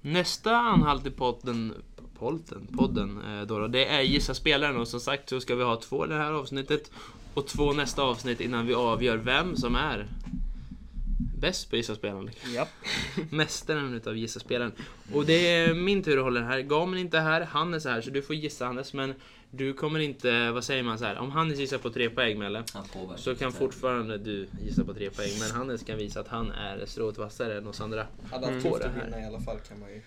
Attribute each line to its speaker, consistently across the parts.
Speaker 1: Nästa anhalt i podden, polten, podden eh, då, då, det är Gissa Spelaren och som sagt så ska vi ha två det här avsnittet och två nästa avsnitt innan vi avgör vem som är bäst på Gissa Spelaren.
Speaker 2: Japp.
Speaker 1: Mästaren utav Gissa Spelaren. Och det är min tur att hålla den här. Gamen är inte här, Hannes är här så du får gissa Hannes men du kommer inte, vad säger man så här, om Hannes gissar på tre poäng Melle
Speaker 3: Han påverkar
Speaker 1: så kan
Speaker 3: inte.
Speaker 1: fortfarande du gissa på tre poäng men Hannes kan visa att han är strået vassare än oss andra.
Speaker 4: Hade haft
Speaker 1: på
Speaker 4: tur
Speaker 1: det
Speaker 4: att
Speaker 1: här.
Speaker 4: vinna i alla fall kan man ju.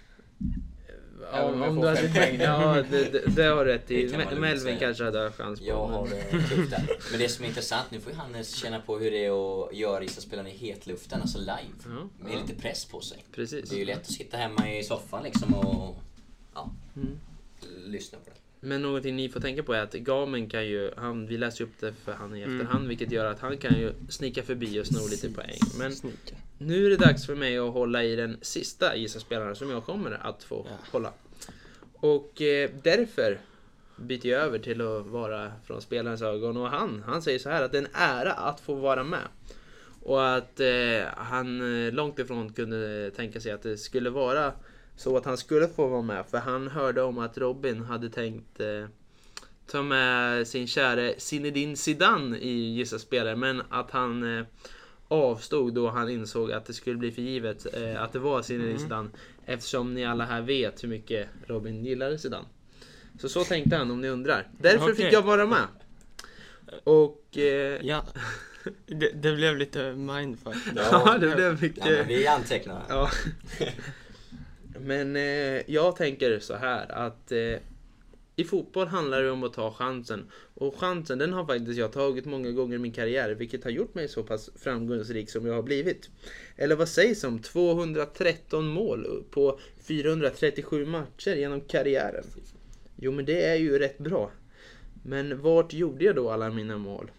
Speaker 4: Även om
Speaker 1: Ja,
Speaker 4: jag
Speaker 1: om
Speaker 4: får
Speaker 1: du hade
Speaker 4: fem poäng.
Speaker 1: Ja, det, det, det har du rätt
Speaker 3: Det
Speaker 1: i.
Speaker 3: kan man
Speaker 1: Me-
Speaker 3: lugnt
Speaker 1: Melvin
Speaker 3: säga.
Speaker 1: kanske hade chans på.
Speaker 3: Jag
Speaker 1: men-
Speaker 3: har det tufft där. Men det som är intressant, nu får ju Hannes känna på hur det är att göra ishockeyspelaren i hetluften, alltså live.
Speaker 1: Ja,
Speaker 3: Med lite press på sig.
Speaker 1: precis.
Speaker 3: Det är ju lätt att sitta hemma i soffan liksom och ja,
Speaker 1: Mm.
Speaker 3: lyssna på det.
Speaker 1: Men någonting ni får tänka på är att Gamen kan ju, han, vi läser ju upp det för han i
Speaker 3: Mm.
Speaker 1: efterhand vilket gör att han kan ju snicka förbi och sno lite poäng. Men
Speaker 2: Snika.
Speaker 1: nu är det dags för mig att hålla i den sista gissa-spelaren som jag kommer att få hålla. Och eh, därför byter jag över till att vara från spelarens ögon och han, han säger så här att det är en ära att få vara med. Och att eh, han eh, långt ifrån kunde tänka sig att det skulle vara så att han skulle få vara med. För han hörde om att Robin hade tänkt eh, ta med sin käre Zinedine Zidane i Gissa Spelare. Men att han eh, avstod då han insåg att det skulle bli för givet eh, att det var Zinedine Zidane. Eftersom ni alla här vet hur mycket Robin gillade Zidane. Så så tänkte han om ni undrar. Därför
Speaker 2: Okej.
Speaker 1: fick jag vara med. Och... Eh,
Speaker 2: Ja. Det, det blev lite mindfuck.
Speaker 1: Ja, det blev
Speaker 3: Ja, men
Speaker 1: mycket...
Speaker 3: vi antecknar.
Speaker 1: Ja. Men eh, jag tänker så här att eh, i fotboll handlar det om att ta chansen. Och chansen den har faktiskt jag tagit många gånger i min karriär vilket har gjort mig så pass framgångsrik som jag har blivit. Eller vad sägs om 213 mål på 437 matcher genom karriären? Jo men det är ju rätt bra. Men vart gjorde jag då alla mina mål?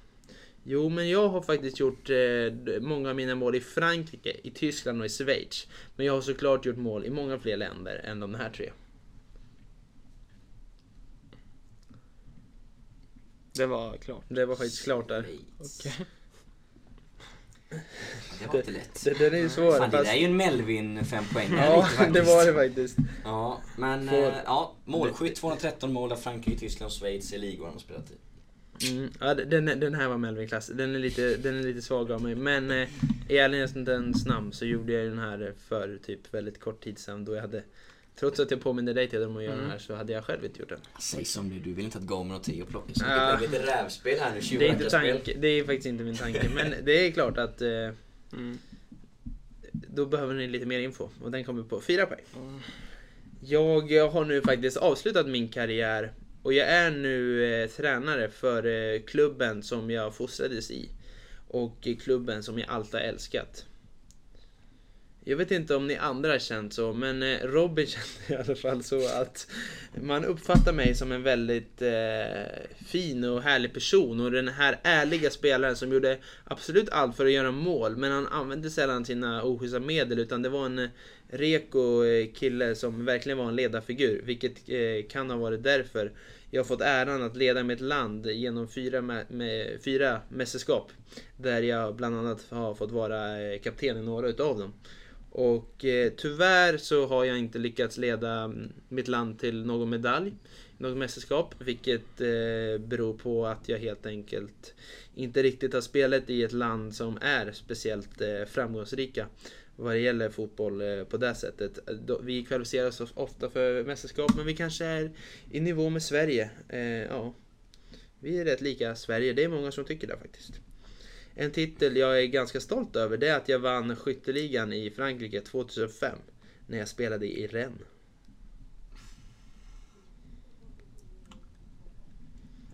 Speaker 1: Jo, men jag har faktiskt gjort eh, många av mina mål i Frankrike, i Tyskland och i Schweiz. Men jag har såklart gjort mål i många fler länder än de här tre.
Speaker 2: Det var klart.
Speaker 1: Det var faktiskt klart där.
Speaker 2: Okej.
Speaker 3: Det var inte lätt.
Speaker 1: Det, den är ju svår.
Speaker 3: Fan, det där
Speaker 1: fast...
Speaker 3: är ju en Melvin fempoängare
Speaker 1: Ja,
Speaker 3: lite faktiskt.
Speaker 1: det var det faktiskt.
Speaker 3: Ja, men
Speaker 1: Får-
Speaker 3: eh, ja, målskytt 213 mål av Frankrike, Tyskland och Schweiz är ligor han har spelat i.
Speaker 1: Mm, ja, den, den här var Melvin-klass. Den, är lite- den är lite svag av mig. Men eh, i ärlighetens namn så gjorde jag ju den här för typ väldigt kort tid sedan då jag hade Trots att jag påminner dig till om att göra
Speaker 3: Mm.
Speaker 1: den här så hade jag själv inte gjort den.
Speaker 3: Säg som du, du vill inte att Gamer och Theo plockar så
Speaker 1: Ja.
Speaker 3: mycket. Det är ett rävspel här nu,
Speaker 1: Ah. Det är, inte
Speaker 3: 20
Speaker 1: tanke, det är faktiskt inte min tanke. Men det är klart att eh,
Speaker 2: Mm.
Speaker 1: Då behöver ni lite mer info och den kommer på fyra poäng. Jag eh, har nu faktiskt avslutat min karriär och jag är nu eh, tränare för eh, klubben som jag fostrades i och eh, klubben som jag alltid har älskat. Jag vet inte om ni andra har känt så, men eh, Robin kände i alla fall så att man uppfattar mig som en väldigt eh, fin och härlig person och den här ärliga spelaren som gjorde absolut allt för att göra mål men han använde sällan sina oschysta medel utan det var en eh, reko eh, kille som verkligen var en ledarfigur vilket eh, kan ha varit därför jag har fått äran att leda mitt land genom fyra, mä- med, fyra mästerskap där jag bland annat har fått vara eh, kapten i några utav dem. Och eh, tyvärr så har jag inte lyckats leda mm, mitt land till någon medalj, något mästerskap, vilket eh, beror på att jag helt enkelt inte riktigt har spelat i ett land som är speciellt eh, framgångsrika vad det gäller fotboll eh, på det sättet. Eh, då- Vi kvalificerar oss ofta för mästerskap, men vi kanske är i nivå med Sverige. Eh, ja, vi är rätt lika Sverige. Det är många som tycker det faktiskt. En titel jag är ganska stolt över det är att jag vann skytteligan i Frankrike 2005 när jag spelade i Rennes.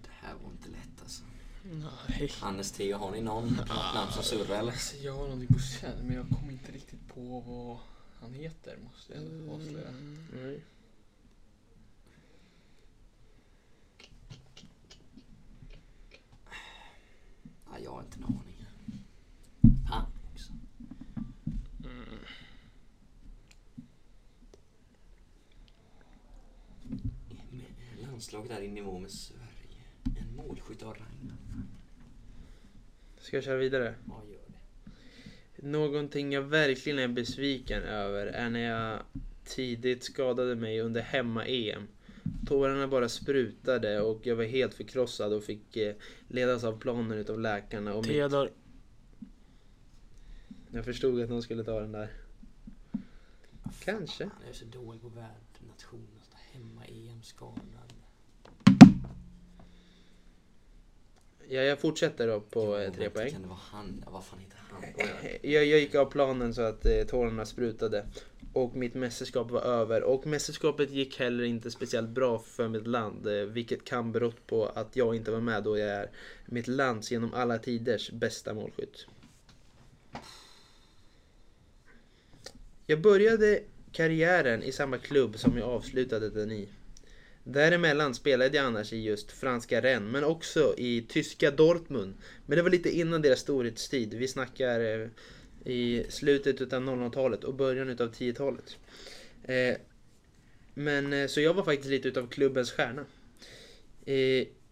Speaker 3: Det här var inte lätt alltså.
Speaker 2: Nej.
Speaker 3: Hannes, Theo, har ni någon
Speaker 1: Ah.
Speaker 3: namn som surrar eller?
Speaker 4: Alltså, jag har någonting på känn men jag kom inte riktigt på vad han heter måste jag
Speaker 1: Mm.
Speaker 4: ändå avslöja.
Speaker 3: Ja, jag har inte en aning. Fan också.
Speaker 2: Mm.
Speaker 3: Men Landslaget är i nivå med Sverige. En målskytt av rang.
Speaker 1: Ska jag köra vidare?
Speaker 3: Vad gör det?
Speaker 1: Någonting jag verkligen är besviken över är när jag tidigt skadade mig under hemma-EM. Tårarna bara sprutade och jag var helt förkrossad och fick eh, ledas av planen utav läkarna. Och mitt...
Speaker 2: Theodor.
Speaker 1: Jag förstod att någon skulle ta den där. Kanske.
Speaker 3: Fan, jag är så dålig på värdnation. och sånt där. Hemma EM skadad.
Speaker 1: Ja, jag fortsätter då på
Speaker 3: Jo,
Speaker 1: eh, tre
Speaker 3: vänta,
Speaker 1: poäng.
Speaker 3: Typ Kan det vara han? Ja, Vad fan heter han?
Speaker 1: Eh, Jag, jag gick av planen så att eh, tårarna sprutade och mitt mästerskap var över och mästerskapet gick heller inte speciellt bra för mitt land eh, vilket kan berott på att jag inte var med då jag är mitt lands genom alla tiders bästa målskytt. Jag började karriären i samma klubb som jag avslutade den i. Däremellan spelade jag annars i just franska Rennes men också i tyska Dortmund. Men det var lite innan deras storhetstid. Vi snackar eh, i slutet utav 00-talet och början utav 10-talet. Eh, Men eh, så jag var faktiskt lite utav klubbens stjärna. Eh,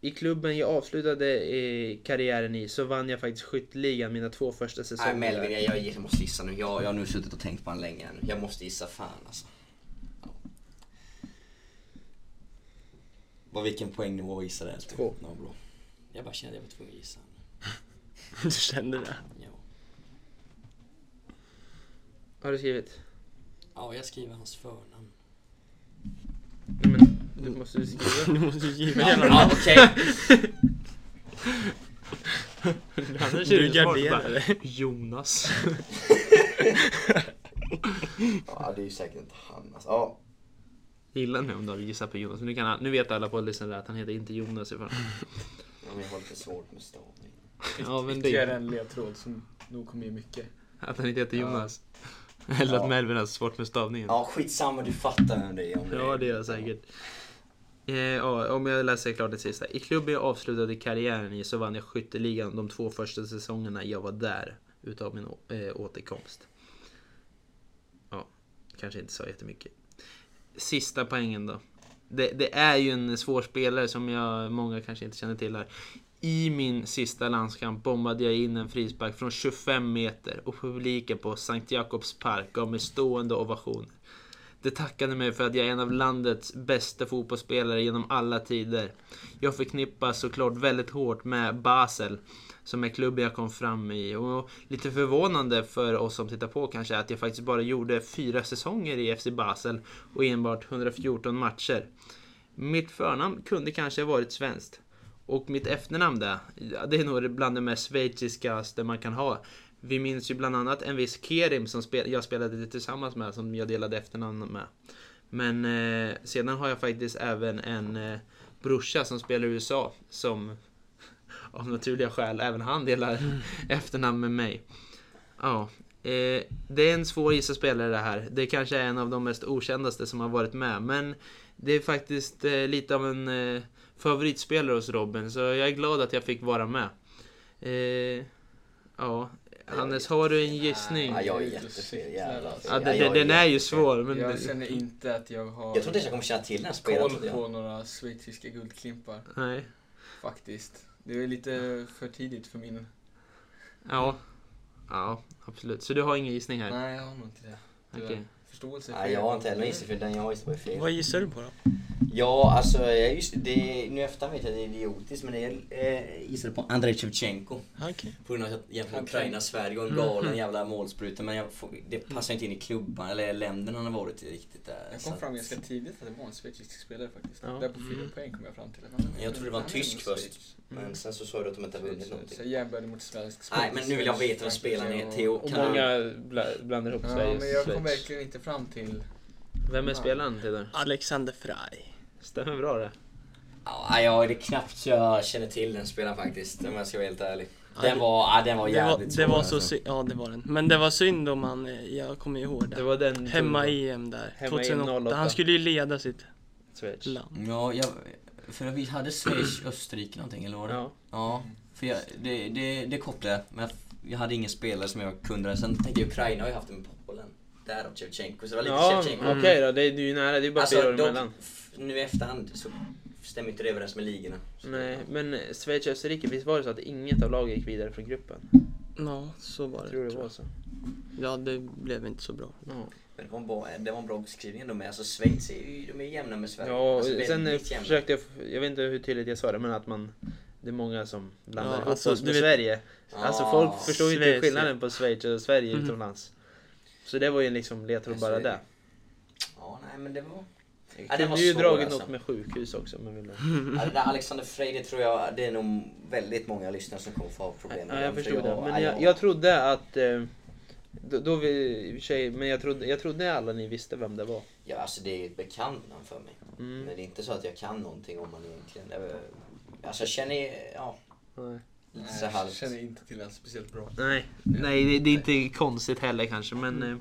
Speaker 1: I klubben jag avslutade eh, karriären i så vann jag faktiskt skytteligan mina två första
Speaker 3: Nej
Speaker 1: säsonger.
Speaker 3: Melvin, jag, jag, jag måste gissa nu. Jag, jag har nu suttit och tänkt på honom länge nu. Jag måste gissa fan alltså. Vad vilken poängnivå gissade jag?
Speaker 1: Två.
Speaker 3: No, bro. Jag bara kände att jag var tvungen att gissa.
Speaker 2: Du kände det?
Speaker 3: Ja,
Speaker 1: Har du skrivit?
Speaker 3: ja jag skriver hans förnamn.
Speaker 1: Nej, Men, du måste du skriva.
Speaker 2: Du måste ju ge mig
Speaker 3: Ja,
Speaker 2: hela den
Speaker 3: ja,
Speaker 2: här.
Speaker 3: okej.
Speaker 2: Annars
Speaker 1: Du
Speaker 2: är du
Speaker 1: garderar
Speaker 2: garderad.
Speaker 1: Jonas.
Speaker 3: Ja, det är ju säkert inte han alltså. Ja.
Speaker 1: Gillar nu om du gissar på Jonas. Nu, kan han, nu vet alla på lyssnare att han heter inte Jonas i fall.
Speaker 3: Ja, men jag har lite svårt med stavning.
Speaker 1: Ja, men
Speaker 4: Ytterligare
Speaker 1: det,
Speaker 4: en ledtråd som nog kommer ge mycket.
Speaker 1: att han inte heter
Speaker 4: Ja.
Speaker 1: Jonas. Eller
Speaker 3: Ja.
Speaker 1: att Melvin har svårt med stavningen.
Speaker 3: Ja, skitsamma du fattar vem det är om
Speaker 1: Ja, det gör jag säkert. Eh, ja, om jag läser klart det sista. I klubben jag avslutade karriären i så vann jag skytteligan de två första säsongerna jag var där utav min å- eh, återkomst. Ja, kanske inte sa jättemycket. Sista poängen då. Det, det är ju en svår spelare som jag, många kanske inte känner till här. I min sista landskamp bombade jag in en frispark från 25 meter och publiken på Sankt Jakobs park gav mig stående ovationer. Det tackade mig för att jag är en av landets bästa fotbollsspelare genom alla tider. Jag förknippas såklart väldigt hårt med Basel, som är klubben jag kom fram i. Och lite förvånande för oss som tittar på kanske är att jag faktiskt bara gjorde fyra säsonger i FC Basel och enbart 114 matcher. Mitt förnamn kunde kanske ha varit svenskt. Och mitt efternamn där, ja, det är nog bland det mest schweiziskaste man kan ha. Vi minns ju bland annat en viss Kerim som spel, jag spelade tillsammans med, som jag delade efternamn med. Men eh, sedan har jag faktiskt även en eh, brorsa som spelar i USA, som av naturliga skäl, även han delar efternamn med mig. Ja, eh, det är en svår gissarspelare det här. Det kanske är en av de mest okändaste som har varit med, men det är faktiskt eh, lite av en eh, favoritspelare hos Robin, så jag är glad att jag fick vara med. Eh, ja, Hannes, har du en gissning?
Speaker 3: Ja, Ah, jag är
Speaker 4: Det är
Speaker 3: jättefel.
Speaker 4: jättefel,
Speaker 3: Jävlar.
Speaker 4: alltså.
Speaker 1: Ja,
Speaker 3: Ja,
Speaker 1: den,
Speaker 3: jag
Speaker 1: den, den är ju
Speaker 3: jättefel.
Speaker 1: svår, men...
Speaker 4: Jag känner inte att jag har
Speaker 3: Jag tror inte ens jag kommer känna till den här spelaren.
Speaker 4: koll
Speaker 3: trodde jag.
Speaker 4: på några schweiziska guldklimpar
Speaker 1: Nej.
Speaker 4: faktiskt. Det är lite för tidigt för min...
Speaker 1: Ja. Ja, absolut. Så du har ingen gissning här?
Speaker 4: Nej, jag har nog inte det.
Speaker 1: Okej.
Speaker 4: Tyvärr. Förståelse
Speaker 3: Nej, jag har inte heller gissat för den jag gissade var ju
Speaker 2: Vad
Speaker 3: fel.
Speaker 2: gissar du på då?
Speaker 3: Ja, alltså, jag just, det, nu efter vet jag att det är idiotiskt, men jag eh, gissade på Andrei Shevchenko. Mhm.
Speaker 2: Okej.
Speaker 3: På grund av att jag jämförde
Speaker 4: Okej.
Speaker 3: Ukraina-Sverige och en galen jävla målspruta. Men jag, får- det passar inte in i klubban eller länderna han har varit i riktigt där.
Speaker 4: Jag
Speaker 3: så
Speaker 4: kom
Speaker 3: att-
Speaker 4: fram ganska tidigt att det var en schweizisk spelare faktiskt.
Speaker 1: Ja.
Speaker 4: Där på fyra
Speaker 1: Mm.
Speaker 4: poäng kom jag fram till. att
Speaker 3: Men jag trodde det var en tysk först. Men sen så sa du att de inte har vunnit
Speaker 4: Mm. Så,
Speaker 3: någonting.
Speaker 4: så jag jämförde mot svensk
Speaker 3: Nej, men nu vill jag veta vad spelaren är. Theo,
Speaker 1: Och
Speaker 3: kan du-
Speaker 1: många bla- blandar ihop
Speaker 4: Ja,
Speaker 1: Sverige och
Speaker 4: men jag kom
Speaker 1: Schweiz.
Speaker 4: verkligen inte fram till...
Speaker 1: Vem är spelaren, Tider?
Speaker 2: Alexander Frey.
Speaker 1: Stämmer bra det.
Speaker 3: Ja, ja, det är knappt så jag känner till den spelaren faktiskt, om jag ska vara helt ärlig.
Speaker 2: Ja,
Speaker 3: Den
Speaker 2: det-
Speaker 3: var, ja, den var
Speaker 2: Det var,
Speaker 3: jävligt alltså.
Speaker 2: det var
Speaker 3: svår,
Speaker 2: så synd, ja det var den. Men det var synd om han, eh, jag kommer ihåg
Speaker 1: Det
Speaker 2: det.
Speaker 1: var den...
Speaker 2: Hemma-EM där,
Speaker 1: Hemma-EM
Speaker 2: 2008.
Speaker 1: 08.
Speaker 2: Han skulle ju leda sitt
Speaker 1: Schweiz.
Speaker 2: land.
Speaker 3: Ja, jag, för vi hade Schweiz, Österrike någonting eller vad var det? Ja.
Speaker 1: Ja.
Speaker 3: för jag, det, det, det kopplade jag. Men jag, jag hade ingen spelare som jag kunde. Sen tänkte jag Ukraina har ju haft det med Polen. Där och Shevchenko, så det var lite
Speaker 1: Ja, mm,
Speaker 3: Shevchenko. Alltså,
Speaker 1: okej då. Det är det är ju nära. Det är bara fyra år
Speaker 3: dock,
Speaker 1: emellan.
Speaker 3: f- nu i efterhand så stämmer inte det överens med ligorna. Så-
Speaker 1: Nej, men eh, Schweiz och Österrike, visst var det så att inget av lagen gick vidare från gruppen?
Speaker 2: Ja, så var det.
Speaker 1: Jag tror det var så.
Speaker 2: Ja, det blev inte så bra.
Speaker 1: Ja.
Speaker 3: Men det var en bra, det var en bra beskrivning ändå med. Alltså Schweiz är ju, de är jämna med Sverige.
Speaker 1: Ja, och
Speaker 3: alltså,
Speaker 1: sen eh,
Speaker 3: väldigt jämna.
Speaker 1: försökte jag, f- jag vet inte hur tydligt jag sa det, men att man Det är många som blandar
Speaker 2: Ja,
Speaker 1: ihop
Speaker 2: alltså,
Speaker 1: oss
Speaker 2: du
Speaker 1: med
Speaker 2: vet-
Speaker 1: Sverige. Alltså
Speaker 3: Ah.
Speaker 1: folk förstår ju inte
Speaker 2: Schweiz,
Speaker 1: skillnaden på Schweiz och Sverige
Speaker 2: Mhm.
Speaker 1: utomlands. Så det var ju liksom ledtråd
Speaker 3: Ja, så
Speaker 1: bara
Speaker 3: är det.
Speaker 1: där.
Speaker 3: Ja, nej men det var...
Speaker 1: Jag
Speaker 3: den
Speaker 1: kunde
Speaker 3: var
Speaker 1: ju
Speaker 3: svår,
Speaker 1: dragit
Speaker 3: alltså.
Speaker 1: något med sjukhus också men ville...
Speaker 3: Ja, det där Alexander Frey, det tror jag, det är nog väldigt många lyssnare som kommer få problem med
Speaker 1: Ja, jag
Speaker 3: den, för
Speaker 1: förstod det. Men
Speaker 3: ja,
Speaker 1: jag, jag trodde att... eh, Då, då vi, i och för sig, men jag trodde, jag trodde alla ni visste vem det var.
Speaker 3: Ja, alltså det är ju ett bekant namn för mig.
Speaker 1: Mm.
Speaker 3: Men det är inte så att jag kan någonting om man egentligen. eh, Alltså jag känner, ja,
Speaker 1: Nej.
Speaker 3: lite så
Speaker 4: Nej,
Speaker 3: här
Speaker 4: jag känner inte till den speciellt bra.
Speaker 1: Nej, nej det, det är inte konstigt heller kanske men...
Speaker 2: Mm.
Speaker 1: eh,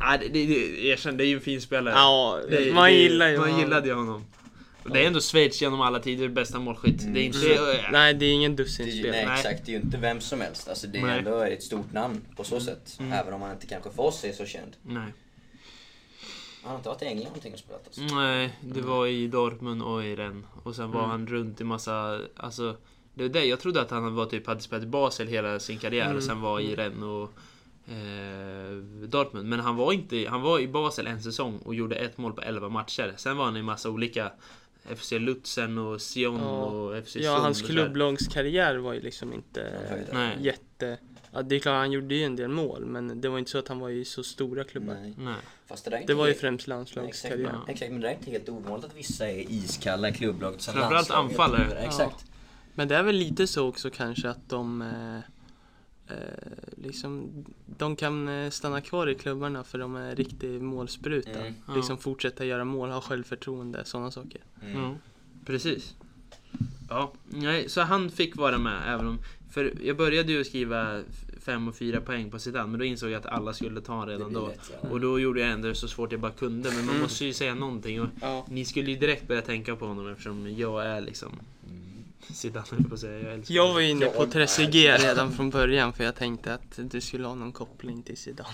Speaker 1: nej, det, det, det, jag känner, det är ju en fin spelare.
Speaker 2: Ja,
Speaker 1: Det-
Speaker 2: man
Speaker 1: det-
Speaker 2: gillar ju
Speaker 1: Man
Speaker 2: honom.
Speaker 1: gillade ju honom. Och Det är ändå Schweiz genom alla tider bästa målskytt. Det är inte...
Speaker 2: Mm. Nej, det är ingen
Speaker 3: Det är ju-
Speaker 2: dussinspelare.
Speaker 3: nej,
Speaker 1: Nej.
Speaker 3: exakt, det är ju inte vem som helst. Alltså det är
Speaker 1: Nej. Mm.
Speaker 3: ändå ett stort namn på så sätt. Även om han inte kanske för oss är så känd.
Speaker 1: Nej.
Speaker 3: Han har inte varit i England någonting och spelat
Speaker 1: Mm,
Speaker 3: alltså.
Speaker 1: Nej, det
Speaker 2: Mm.
Speaker 1: var i Dortmund och i Rennes. Och sen var han runt i massa... Alltså, det var det. Jag trodde att han var typ, hade spelat i Basel hela sin karriär
Speaker 2: Mm.
Speaker 1: och sen var i Rennes och eh, Dortmund. Men han var, inte, han var i Basel en säsong och gjorde ett mål på 11 matcher. Sen var han i massa olika... FC Lutzen och Sion
Speaker 2: Ja.
Speaker 1: och FC
Speaker 2: Ja, hans
Speaker 1: Sund och så här.
Speaker 2: klubblagskarriär var ju liksom inte
Speaker 3: Han var ju där.
Speaker 1: Nej.
Speaker 2: jätte... Ja, det är klart, han gjorde ju en del mål, men det var inte så att han var i så stora klubbar.
Speaker 3: Nej.
Speaker 1: Nej.
Speaker 3: Fast det där är inte
Speaker 2: Det var ju
Speaker 3: helt-
Speaker 2: främst
Speaker 3: Nej, Exakt,
Speaker 2: landslagskarriär.
Speaker 1: Ja.
Speaker 3: exakt, men det där är inte helt ovanligt att vissa är iskalla i klubblaget. sen
Speaker 1: Framförallt
Speaker 3: landslaget. Mm,
Speaker 1: anfallare.
Speaker 3: Exakt.
Speaker 2: Men det är väl lite så också kanske att de eh, eh, liksom, de kan eh, stanna kvar i klubbarna för de är riktigt målspruta.
Speaker 3: Mm.
Speaker 1: Ja.
Speaker 2: Liksom fortsätta göra mål, ha självförtroende, sådana saker.
Speaker 3: Mm.
Speaker 1: Ja, precis. Ja, nej, så han fick vara med även om... För jag började ju skriva 5 och 4 poäng på Zidane men då insåg jag att alla skulle ta redan
Speaker 3: blir
Speaker 1: då.
Speaker 3: lätt, ja.
Speaker 1: Och då gjorde jag ändå det så svårt jag bara kunde men man måste ju säga någonting och
Speaker 4: Ja.
Speaker 1: ni skulle ju direkt börja tänka på honom eftersom jag är liksom
Speaker 3: Mm.
Speaker 1: Zidane höll jag på att säga. Jag älskar
Speaker 2: Jag
Speaker 1: honom.
Speaker 2: var inne på
Speaker 3: Jag-
Speaker 2: 3CG redan från början för jag tänkte att du skulle ha någon koppling till Zidane.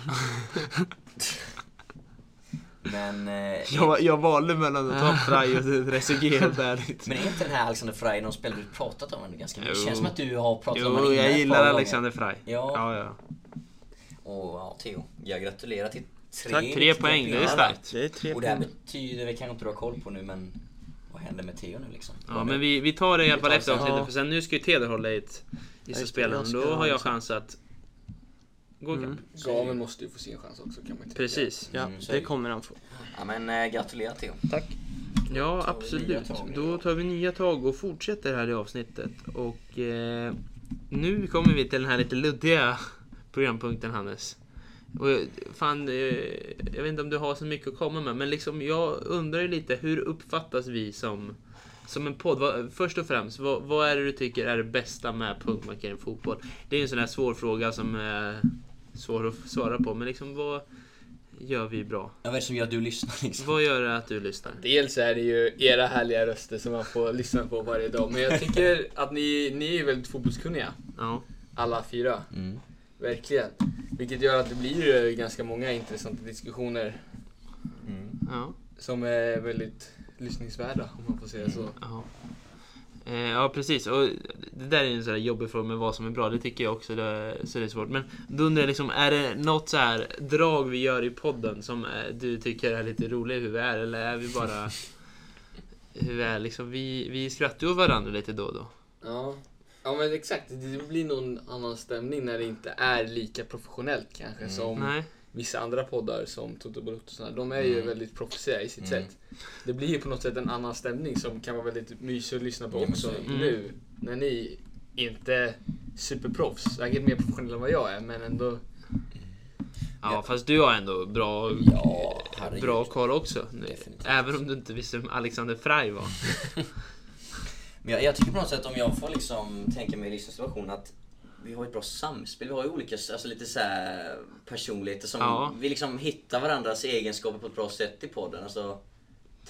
Speaker 3: Men, eh,
Speaker 1: jag, jag valde mellan att ta Fraj och Trezeguet helt ärligt.
Speaker 3: men är inte den här Alexander Frey någon spelare du pratat om ändå ganska mycket?
Speaker 1: Jo.
Speaker 3: Det känns som att du har pratat om
Speaker 1: Jo,
Speaker 3: honom innan
Speaker 1: jag
Speaker 3: ett
Speaker 1: gillar
Speaker 3: par gånger.
Speaker 1: Alexander Fraj.
Speaker 3: Ja.
Speaker 1: ja, ja.
Speaker 3: Och ja, Theo, jag gratulerar till tre,
Speaker 2: Tack,
Speaker 1: Tre poäng, det är
Speaker 3: pinnar.
Speaker 1: starkt.
Speaker 2: Det är tre
Speaker 3: Och det här
Speaker 2: poäng.
Speaker 3: betyder, vi kanske inte du har koll på nu men vad händer med Theo nu liksom?
Speaker 1: Ja,
Speaker 3: Vad
Speaker 1: men
Speaker 3: nu?
Speaker 1: vi, vi tar det i alla fall
Speaker 3: tar
Speaker 1: efter
Speaker 3: sen.
Speaker 1: avsnittet
Speaker 2: Ja.
Speaker 1: för sen nu ska ju Teder hålla i ett
Speaker 2: just
Speaker 1: gissa
Speaker 2: det,
Speaker 1: spelaren.
Speaker 2: jag ska Mm.
Speaker 1: Då har
Speaker 2: hålla
Speaker 1: jag
Speaker 2: i-
Speaker 1: chans att gå ikapp.
Speaker 4: Gaven måste ju få sin chans också kan man inte
Speaker 1: Precis.
Speaker 2: Ja,
Speaker 3: Mm, så är
Speaker 2: det
Speaker 3: det.
Speaker 2: kommer han få.
Speaker 3: Ja men eh, gratulerar Theo.
Speaker 1: Ja,
Speaker 3: tar vi nya
Speaker 1: absolut.
Speaker 3: tag nu
Speaker 1: Då
Speaker 3: då.
Speaker 1: tar vi nya tag och fortsätter här i avsnittet. Och eh, nu kommer vi till den här lite luddiga programpunkten Hannes. Och eh, fan, eh, jag vet inte om du har så mycket att komma med, men liksom jag undrar ju lite hur uppfattas vi som, som en podd? Vad, först och främst, vad, vad är det du tycker är det bästa med punktmarkering fotboll? Det är ju en sån här svår fråga som är svår att svara på, men liksom vad gör vi bra?
Speaker 3: Jag vet som gör att du lyssnar liksom.
Speaker 1: Vad gör det att du lyssnar?
Speaker 4: Dels är det ju era härliga röster som man får lyssna på varje dag. Men jag tycker att ni, ni är väldigt fotbollskunniga.
Speaker 1: Ja.
Speaker 4: Alla fyra.
Speaker 3: Mm.
Speaker 4: Verkligen. Vilket gör att det blir ju ganska många intressanta diskussioner
Speaker 3: Mm.
Speaker 1: ja.
Speaker 4: som är väldigt lyssningsvärda om man får säga så.
Speaker 1: Ja. Eh, ja, precis. Och det där är ju en sån där jobbig fråga med vad som är bra. Det tycker jag också, det, så det är svårt. Men då undrar jag liksom, är det något så här drag vi gör i podden som eh, du tycker är lite roligt hur vi är? Eller är vi bara... Hur vi är liksom, vi, vi skrattar ju åt varandra lite då och då.
Speaker 4: Ja. ja, men exakt. Det blir någon annan stämning när det inte är lika professionellt kanske
Speaker 3: Mm.
Speaker 4: som
Speaker 1: Nej?
Speaker 4: vissa andra poddar som Toto Balotto och sådana. De är ju
Speaker 3: Mm.
Speaker 4: väldigt proffsiga i sitt
Speaker 3: Mm.
Speaker 4: sätt. Det blir ju på något sätt en annan stämning som kan vara väldigt mysig att lyssna på
Speaker 3: Ja, men
Speaker 4: också
Speaker 3: så är det.
Speaker 1: Mm.
Speaker 4: nu. När ni inte superproffs, säkert mer professionella än vad jag är, men ändå.
Speaker 1: Ja, fast du har ändå bra,
Speaker 3: Ja, herregud.
Speaker 1: bra koll också. Nu.
Speaker 3: Definitivt.
Speaker 1: Även om du inte visste vem Alexander Frey var.
Speaker 3: Men jag, jag tycker på något sätt om jag får liksom tänka mig i Lyssnars situation att vi har ett bra samspel. Vi har ju olika alltså lite så här personligheter som
Speaker 1: Ja.
Speaker 3: vi liksom hittar varandras egenskaper på ett bra sätt i podden. Alltså,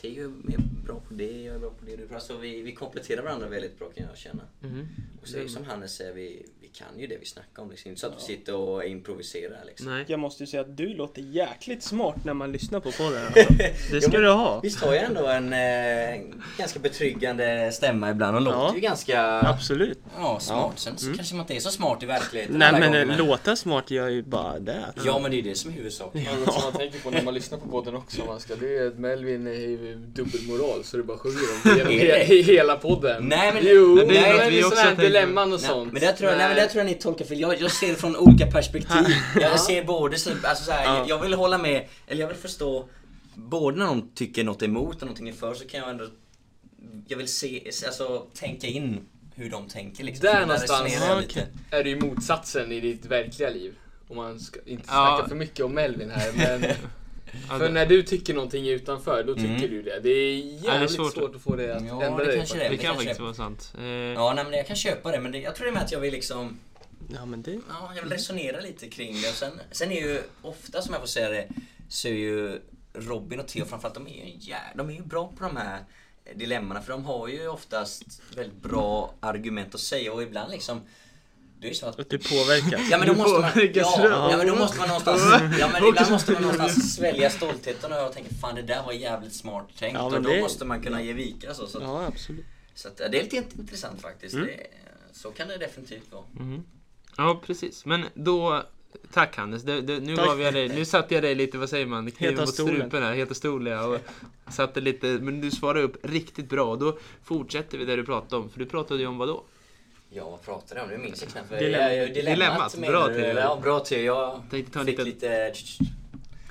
Speaker 3: Theo är bra på det, jag är bra på det, du är bra. Alltså, vi, vi kompletterar varandra väldigt bra kan jag känna.
Speaker 1: Mm.
Speaker 3: Och Och så är det som Hannes säger, vi, vi kan ju det vi snackar om. Liksom. Inte så att vi sitter och improviserar liksom.
Speaker 5: Nej.
Speaker 2: Jag måste ju säga att du låter jäkligt smart när man lyssnar på podden. Alltså. Det ska
Speaker 3: men-
Speaker 2: du ha.
Speaker 3: Visst har jag ändå en eh, ganska betryggande stämma ibland och låter
Speaker 2: Ja.
Speaker 3: ju ganska
Speaker 2: Absolut.
Speaker 3: ja, smart. Sen så kanske man inte är så smart i verkligheten alla
Speaker 2: Nej men
Speaker 3: gånger,
Speaker 2: eh, låta smart gör ju bara det.
Speaker 3: Ja men det är ju det som är huvudsaken.
Speaker 4: Något som Alltså, man tänker på när man lyssnar på podden också man ska, det är att Melvin är ju dubbelmoral så det bara sjunger om det genom he- he- hela podden.
Speaker 3: Nej, men-
Speaker 4: jo,
Speaker 3: men det är
Speaker 4: nej,
Speaker 3: något
Speaker 4: men
Speaker 2: vi
Speaker 4: det är
Speaker 2: också
Speaker 4: sådana här
Speaker 2: tänker på.
Speaker 4: dilemman och
Speaker 3: Nej,
Speaker 4: sånt.
Speaker 3: men det tror jag, nej. men det tror jag ni tolkar fel. Jag, jag ser det från olika perspektiv. jag ser både, så, alltså så här, jag, jag vill hålla med, eller jag vill förstå både när någon tycker något är emot och någonting är för så kan jag ändå, jag vill se, alltså tänka in hur de tänker liksom.
Speaker 4: Där
Speaker 3: Så jag
Speaker 4: någonstans.
Speaker 3: resonerar
Speaker 4: Ja,
Speaker 3: lite.
Speaker 4: är det ju motsatsen i ditt verkliga liv. Om man ska inte
Speaker 2: Ja.
Speaker 4: snacka för mycket om Melvin här men... För när du tycker någonting utanför, då tycker
Speaker 3: Mm.
Speaker 4: du det. Det är jävligt
Speaker 1: Ja, det är
Speaker 4: svårt.
Speaker 1: svårt.
Speaker 4: att få det att
Speaker 3: Ja,
Speaker 4: ändra
Speaker 3: det
Speaker 4: dig. faktiskt.
Speaker 3: kanske
Speaker 1: Det
Speaker 3: det
Speaker 1: kan
Speaker 3: kanske
Speaker 1: faktiskt
Speaker 3: det.
Speaker 1: vara sant. Eh,
Speaker 3: Ja, nej, men jag kan köpa det men det, jag tror det är med att jag vill liksom
Speaker 2: Ja men det...
Speaker 3: Ja, jag vill resonera lite kring det. Och sen, sen är ju ofta, som jag får säga det, så är ju Robin och Theo framförallt, de är ju, en jä- de är ju bra på de här dilemmana. För de har ju oftast väldigt bra argument att säga och ibland liksom, det är ju så att
Speaker 2: Att du påverkas.
Speaker 3: Ja men då måste man, ja, ja, men då måste man någonstans, ja, men ibland måste man någonstans svälja stoltheten och jag tänker fan det där var jävligt smart tänkt
Speaker 2: Ja,
Speaker 3: och
Speaker 2: men
Speaker 3: då
Speaker 2: det-
Speaker 3: måste man kunna ge vika så. Så, att,
Speaker 2: Ja Mm. absolut.
Speaker 3: så att, ja, det är lite int- intressant faktiskt. Det, så kan det definitivt vara.
Speaker 1: Mhm. Ja, precis. Men då... Tack Hannes, det, det, nu,
Speaker 2: Tack.
Speaker 1: gav jag dig, nu satte jag dig lite, vad säger man, kniven
Speaker 2: Heta
Speaker 1: mot
Speaker 2: stolen.
Speaker 1: strupen här, heta stolen ja, och satte lite, men du svarade upp riktigt bra och då fortsätter vi det du pratade om, för du pratade ju om vad då?
Speaker 3: Ja, vad pratar du om? Nu minns jag knappt.
Speaker 1: Dilemma.
Speaker 3: Ja, ja,
Speaker 1: Dilemmat.
Speaker 3: menar
Speaker 1: Bra
Speaker 3: du?
Speaker 1: teori.
Speaker 3: Ja, bra teori. Jag
Speaker 1: Tänkte ta en
Speaker 3: fick
Speaker 1: liten-
Speaker 3: lite...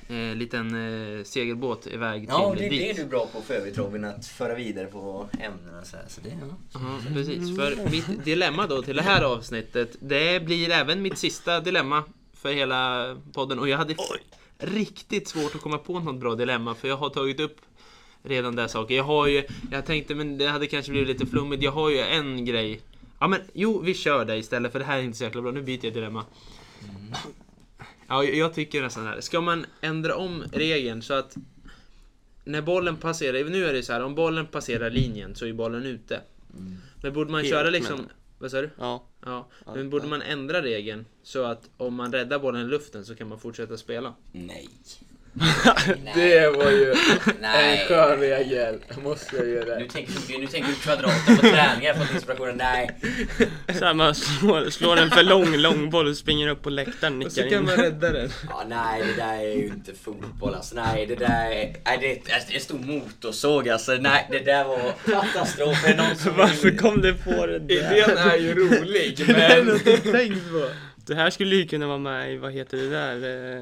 Speaker 1: Eh, liten eh, segelbåt iväg till
Speaker 3: Ja, det är det
Speaker 1: dit.
Speaker 3: du är bra på för övrigt Robin, att föra vidare på ämnena så här. Så det, ja.
Speaker 1: Ja, precis. För mitt dilemma då till det här avsnittet, det blir även mitt sista dilemma för hela podden. Och jag hade riktigt svårt att komma på något bra dilemma, för jag har tagit upp redan där saker. Jag har ju, jag tänkte men det hade kanske blivit lite flummigt, jag har ju en grej. Ja men jo, vi kör det istället för det här är inte så jäkla bra, nu byter jag dilemma.
Speaker 2: Mm.
Speaker 1: Ja, jag- jag tycker nästan här. Ska man ändra om regeln så att när bollen passerar, nu är det så här, om bollen passerar linjen så är bollen ute. Men borde man
Speaker 2: Mm. Helt,
Speaker 1: köra liksom...
Speaker 2: men-
Speaker 1: Vad sa du?
Speaker 2: Ja.
Speaker 1: Ja.
Speaker 2: Ja,
Speaker 1: Men borde
Speaker 2: ja.
Speaker 1: man ändra regeln så att om man räddar bollen i luften så kan man fortsätta spela?
Speaker 3: Nej.
Speaker 4: Det var ju en
Speaker 3: Nej.
Speaker 4: skön regel. Måste jag göra.
Speaker 3: Nu tänker du, nu tänker du kvadraten på träningar för inspirationen. Nej.
Speaker 2: Så här, man slår, slår en för lång långboll och springer upp på läktaren
Speaker 5: Och så
Speaker 2: nickar
Speaker 5: kan man
Speaker 2: in.
Speaker 5: rädda den.
Speaker 3: Ja, nej, det där är ju inte fotboll alltså. Nej, det där är... Nej, det är alltså, det är en stor motorsåg alltså. Nej, det där var katastrof. Är det någon som
Speaker 2: Varför kom du på det där?
Speaker 4: Idén är ju rolig men...
Speaker 5: Tänk på.
Speaker 2: Det här skulle ju kunna vara med i, vad heter det där, eh,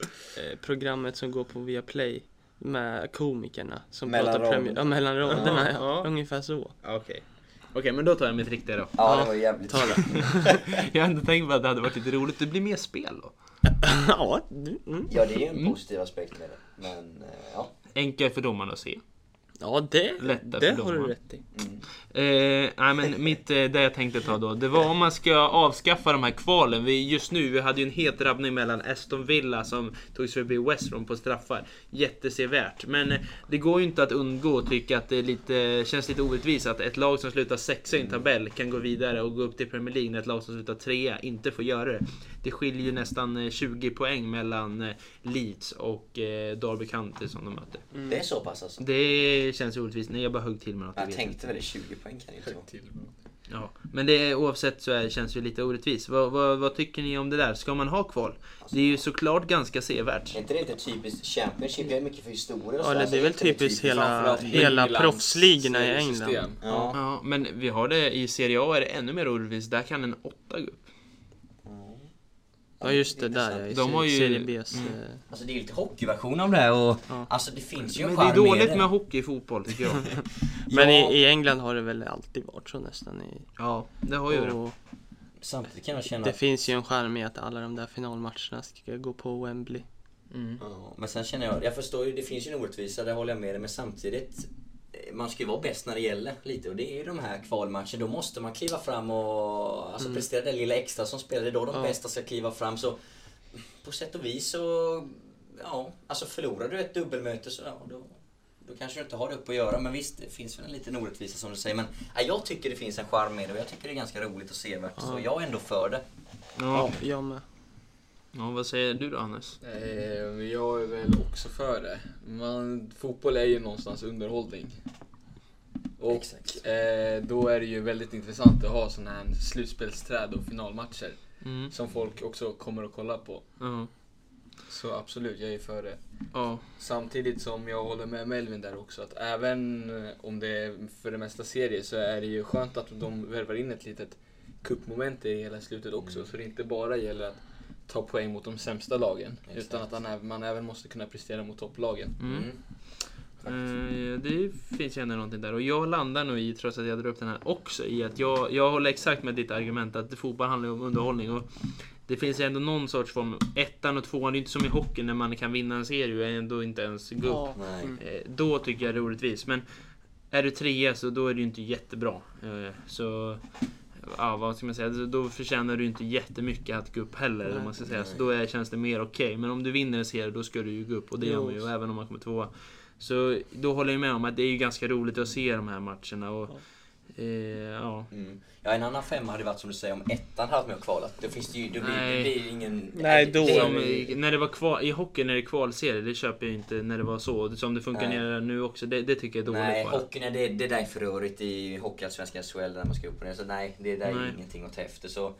Speaker 2: eh, programmet som går på Viaplay med komikerna som
Speaker 3: Mellan
Speaker 2: pratar
Speaker 3: raderna.
Speaker 2: premier, ja, mellan raderna,
Speaker 5: Ja.
Speaker 2: ja. ungefär så.
Speaker 5: Okej. Okej, men då tar jag mitt riktiga då.
Speaker 3: Ja, det var jävligt...
Speaker 1: Ta det. jag hade tänkt på att det hade varit lite roligt. Det blir mer spel då.
Speaker 2: ja, du- mm.
Speaker 3: Ja, det är ju en positiv aspekt med det. Men eh, ja.
Speaker 1: Enkelt för domarna att se.
Speaker 2: ja det,
Speaker 1: Lätta
Speaker 2: det
Speaker 1: för
Speaker 2: har du
Speaker 1: domaren.
Speaker 2: rätt i.
Speaker 1: Eh, nej men mitt, eh, det jag tänkte ta då, det var om man ska avskaffa de här kvalen. Vi, just nu, vi hade ju en het rabbning mellan Aston Villa som tog sig förbi West Brom på straffar. Jättesevärt. Men eh, det går ju inte att undgå att tycka att det är lite, känns lite orättvist att ett lag som slutar sexa i en tabell kan gå vidare och gå upp till Premier League när ett lag som slutar trea inte får göra det. Det skiljer ju nästan eh, 20 poäng mellan eh, Leeds och eh, Derby County som de möter.
Speaker 3: Det är så pass alltså.
Speaker 1: Det känns ju orättvist. Nej, jag bara högg till med något. jag
Speaker 3: Jag
Speaker 1: vet
Speaker 3: tänkte väl det, 20 poäng kan det inte vara.
Speaker 1: Ja, men det, oavsett så är, känns det ju lite orättvist. Vad, vad, vad tycker ni om det där? Ska man ha kval? Det är ju såklart ganska sevärt.
Speaker 3: Är inte det inte typiskt Championship? Det är mycket för historia och
Speaker 2: Ja,
Speaker 3: så här,
Speaker 2: eller
Speaker 3: så
Speaker 2: det är väl
Speaker 3: inte
Speaker 2: typiskt hela,
Speaker 3: framförallt-
Speaker 2: hela
Speaker 4: Englands
Speaker 2: proffsligorna i
Speaker 4: seriesystem.
Speaker 2: England.
Speaker 3: Ja.
Speaker 1: Ja, men vi har det i Serie A är det ännu mer orättvist. Där kan en åtta gå upp.
Speaker 2: Ja just det, där ja, i
Speaker 1: De
Speaker 2: se-
Speaker 1: har ju- mm.
Speaker 2: Serie B's. eh,
Speaker 3: Alltså det är ju lite hockeyversion av det här och
Speaker 2: Ja.
Speaker 3: alltså det finns ju en
Speaker 1: Men det är
Speaker 3: charm
Speaker 1: dåligt med hockey i fotboll tycker jag.
Speaker 2: Men
Speaker 3: Ja.
Speaker 2: i, i England har det väl alltid varit så nästan. I,
Speaker 1: Ja, det har ju det.
Speaker 2: och
Speaker 3: Samtidigt kan jag känna
Speaker 2: det finns ju en charm i att alla de där finalmatcherna ska gå på Wembley.
Speaker 3: Ja, Men sen känner jag, jag förstår ju, det finns ju en orättvisa, det håller jag med dig, men samtidigt eh, man ska ju vara bäst när det gäller lite och det är ju de här kvalmatcherna, då måste man kliva fram och alltså, prestera det lilla extra som spelar, det är då de bästa ska kliva fram så på sätt och vis så, ja, alltså förlorar du ett dubbelmöte så ja, då, då kanske du inte har det upp att göra. Men visst, det finns väl en liten orättvisa som du säger. Men nej, jag tycker det finns en charm med det och jag tycker det är ganska roligt och sevärt. Så jag är ändå för det.
Speaker 2: Ja, jag med.
Speaker 1: Ja, vad säger du då Hannes?
Speaker 4: Eh, men jag är väl också för det. Man, fotboll är ju någonstans underhållning. Och
Speaker 3: Exakt.
Speaker 4: eh, då är det ju väldigt intressant att ha sådana här slutspelsträd och finalmatcher.
Speaker 1: Mm.
Speaker 4: Som folk också kommer att kolla på.
Speaker 1: Ja.
Speaker 4: Så absolut, jag är för det.
Speaker 1: Ja.
Speaker 4: Samtidigt som jag håller med Melvin där också att även eh, om det är för det mesta serier så är det ju skönt att de värvar in ett litet kuppmoment i hela slutet också. Så det inte bara gäller att ta poäng mot de sämsta lagen. Utan att man även, man även måste kunna prestera mot topplagen.
Speaker 1: Mm. Eh, det finns ju ändå någonting där. Och jag landar nog i, trots att jag drar upp den här också, i att jag, jag håller exakt med ditt argument att fotboll handlar ju om underhållning. Och det finns ju ändå någon sorts form, ettan och tvåan, det är ju inte som i hockey när man kan vinna en serie och ändå inte ens gå upp.
Speaker 2: Ja.
Speaker 3: Nej.
Speaker 1: Eh, Då tycker jag det är orättvist. Men är du trea så då är det ju inte jättebra. Eh, Så ja, vad ska man säga? Så Då förtjänar du inte jättemycket att gå upp heller. om man ska säga. Så då är, känns det mer okej. Men om du vinner en serie då ska du ju gå upp. Och det gör
Speaker 2: Jo.
Speaker 1: man ju även om man kommer tvåa. Så då håller jag med om att det är ju ganska roligt att se de här matcherna. Och, eh, ja.
Speaker 3: Mm. Ja, en annan femma hade varit som du säger om ettan hade varit med och kvalat. Då finns det ju, då blir, det
Speaker 1: Nej.
Speaker 3: blir ingen...
Speaker 2: Nej, då-
Speaker 3: det-
Speaker 1: Som, i- när det var kval, I hockey när det är kvalserie, det köper jag inte när det var så. Som det funkar
Speaker 3: Nej.
Speaker 1: ner nu också, det, det tycker jag är dåligt.
Speaker 3: Nej,
Speaker 1: bara.
Speaker 3: hockeyn är det, det där är för rörigt i Hockeyallsvenskan SHL där man ska upp och ner. Så nej, det där
Speaker 1: Nej.
Speaker 3: är ingenting att ta efter. Så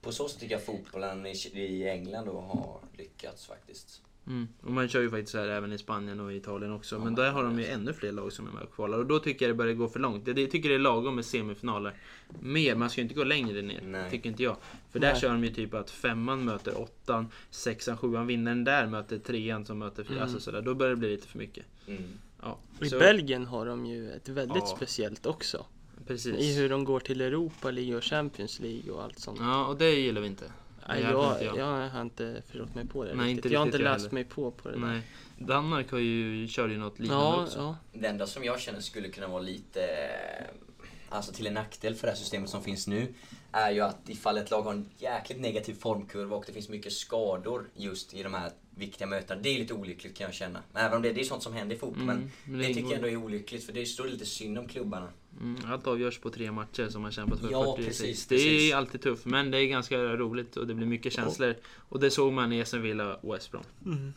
Speaker 3: på så sätt tycker jag fotbollen i, i England då har lyckats faktiskt.
Speaker 1: Mm. Och man kör ju faktiskt så här även i Spanien och Italien också. men där har de ju ännu fler lag som är med och kvalar. Och då tycker jag det börjar gå för långt. Jag jag tycker det är lagom med semifinaler. Mer, man ska ju inte gå längre ner.
Speaker 3: Nej.
Speaker 1: Tycker inte jag. För där
Speaker 2: Nej.
Speaker 1: kör de ju typ att femman möter åttan, sexan, sjuan vinner den där möter trean som möter fyra. Alltså sådär. Då börjar det bli lite för mycket.
Speaker 3: Mm.
Speaker 1: Ja.
Speaker 2: I
Speaker 1: så-
Speaker 2: Belgien har de ju ett väldigt
Speaker 1: Ja.
Speaker 2: speciellt också. I
Speaker 1: Precis.
Speaker 2: hur de går till Europa League och Champions League och allt sånt.
Speaker 1: Ja, och det gillar vi inte.
Speaker 2: Nej,
Speaker 1: det gör inte
Speaker 2: jag,
Speaker 1: jag.
Speaker 2: jag har inte förstått mig på det
Speaker 1: Nej,
Speaker 2: riktigt.
Speaker 1: inte
Speaker 2: Jag har inte
Speaker 1: riktigt jag
Speaker 2: läst
Speaker 1: heller.
Speaker 2: mig på på det där.
Speaker 1: Nej. Danmark har ju, kör ju något liknande
Speaker 2: Ja,
Speaker 1: också.
Speaker 2: ja.
Speaker 3: Det enda som jag känner skulle kunna vara lite, eh, alltså till en nackdel för det här systemet som finns nu, är ju att ifall ett lag har en jäkligt negativ formkurva och det finns mycket skador just i de här viktiga mötena. Det är lite olyckligt kan jag känna. Men Även om det, det är sånt som händer i fotboll. men,
Speaker 1: Mm. men det
Speaker 3: det, tycker
Speaker 1: ingår.
Speaker 3: jag ändå är olyckligt för det står lite synd om klubbarna.
Speaker 1: Mm, Allt avgörs på tre matcher som man kämpat för.
Speaker 3: Ja,
Speaker 1: 46.
Speaker 3: precis,
Speaker 1: det
Speaker 3: precis.
Speaker 1: är alltid tufft, men det är ganska roligt och det blir mycket känslor. Och det såg man i Aston Villa och West Brom.